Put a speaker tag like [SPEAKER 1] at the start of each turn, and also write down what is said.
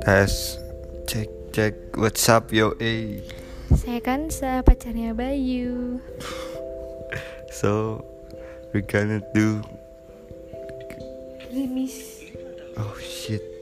[SPEAKER 1] Tes cek cek WhatsApp yo eh.
[SPEAKER 2] Saya Kansa, pacarnya Bayu.
[SPEAKER 1] So we gonna do
[SPEAKER 2] Rimis.
[SPEAKER 1] oh shit